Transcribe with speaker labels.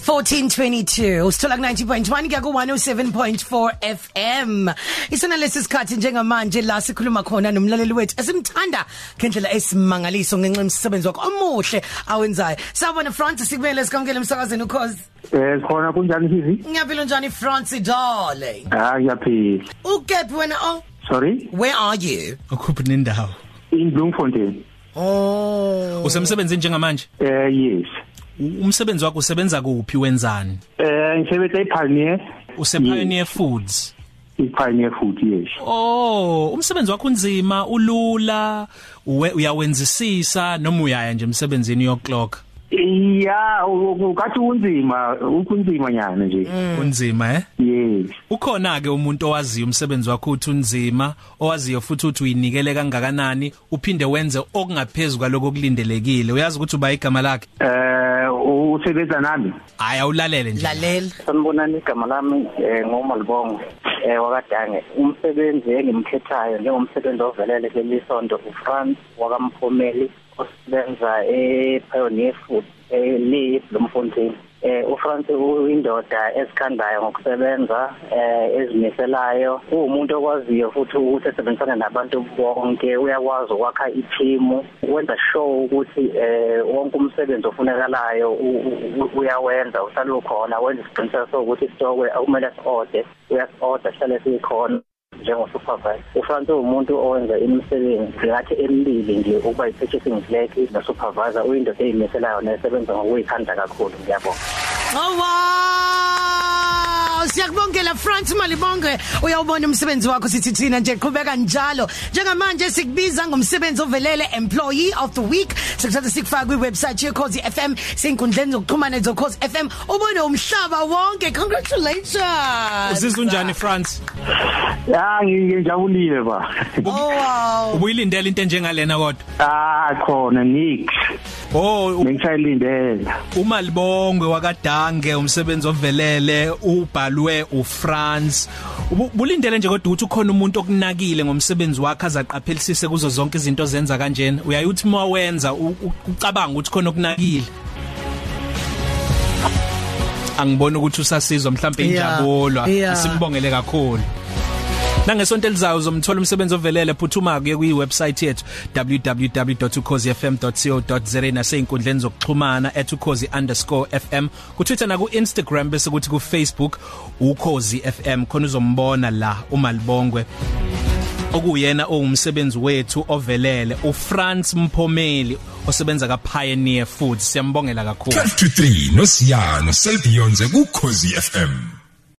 Speaker 1: 1422 sithola ku-90.1 kuya ku-107.4 FM isona lesi sikhathi njengamanje la sikhuluma khona nomlaleli wethu esimthanda ngendlela esimangaliso ngenxa yomsebenzi wakhe omuhle awenzayo sawubona Francis sikumele sikamukele emsakazweni ukhozi
Speaker 2: Eh khona kunjani sizi?
Speaker 1: ngiyaphila njani Francis darling
Speaker 2: Ah ngiyaphila.
Speaker 1: ukep wena oh
Speaker 2: Sorry.
Speaker 1: where are you
Speaker 3: ukhuphe nendawo
Speaker 2: In Bloemfontein.
Speaker 1: oh
Speaker 3: usemsebenzini njengamanje
Speaker 2: Eh yes.
Speaker 3: U- umsebenzi wakho usebenza kuphi wenzani
Speaker 2: Eh ngisebenza ePioneer.
Speaker 3: use Pioneer Foods
Speaker 2: iPioneer Food yes.
Speaker 3: oh umsebenzi wakho unzima ulula uwe- uyawenzisisa noma uyaya nje emsebenzini uyoclock
Speaker 2: Ya ukathi unzima ukunzima nyana nje.
Speaker 3: unzima eh
Speaker 2: Yes.
Speaker 3: ukhona ke umuntu owaziyo umsebenzi wakho uthi unzima owaziyo futhi uthi uyinikele kangakanani uphinde wenze okungaphezulu kwaloko kulindelekile uyazi ukuthi uba igama lakhe
Speaker 2: Eh usebenza nami.
Speaker 3: haya ulalele nje
Speaker 1: lalela
Speaker 4: Sanibonani igama lami eh ngomalibongo eh wakadange umsebenzi engimkhethayo njengomsebenzi ovelele kwelisonto uFrance wakamphumeli osebenza ePioneer Food ele Bloemfontein eh uFrance uyindoda esikhandayo ngokusebenza eh ezimiselayo umuntu okwaziyo futhi ukuthi esebenzisana nabantu bonke uyakwazi ukwakha i-team wenza sure ukuthi eh wonke umsebenzi ofunekalayo u- u- u- uyawenza uhlala ukhona wenza isiqiniseko sokuthi isitokwe akumele si-ode uyasi-oda sihlale sikhona njengo-supervisor ufrance uwumuntu owenza imisebenzi ngathi emibili nje ukuba yi-purchasing flag no-supervisor uyindoda eyimiselayo nesebenza ngokuyikhandla kakhulu ngiyabonga
Speaker 1: Oh wow! Siyakubongela Front Malibonge uyawubona umsebenzi wakho sithi thina nje qhubeka njalo. Njengamanje sikubiza ngomsebenzi ovelele employee of the week. Sikuthatha sikufaka kwi website ye Cause FM senkundleni zokuxhumana ze Cause FM. Ubone umhlaba wonke. Congratulations.
Speaker 3: uzizwa unjani France
Speaker 2: Ah ngiyajabulile ba.
Speaker 1: Oh wow.
Speaker 3: ubuyilindele into enjengalena kodwa
Speaker 2: Ah khona nix.
Speaker 3: Oh u-
Speaker 2: Ngisayilindela.
Speaker 3: umalibongwe wakadange umsebenzi ovelele ubhalwe uFrance Ubu- bulindele nje kodwa ukuthi ukhona umuntu okunakile ngomsebenzi wakhe azaqaphelisise kuzo zonke izinto ozenza kanjena uyayuthi uma wenza u- u- ucabanga ukuthi khona okunakile Angibona ukuthi usasizwa mhlawumbe
Speaker 1: Yeah,
Speaker 3: injabulo
Speaker 1: yeah.
Speaker 3: simbongele kakhulu Nangesonto elizayo uzomthola umsebenzi ovelele phuthuma kuye kwi website yethu www.ukhozifm.co.za naseyinkundleni zokuxhumana @ukhozi_fm ku Twitter na ku Instagram bese kuthi ku Facebook ukhozi fm khona uzombona la umalibongwe okuyena owumsebenzi wethu ovelele uFrance Mphomeli osebenza ka Pioneer Foods siyambongela kakhulu
Speaker 5: 12 to 3 noSiyano selbionze ku Khosi FM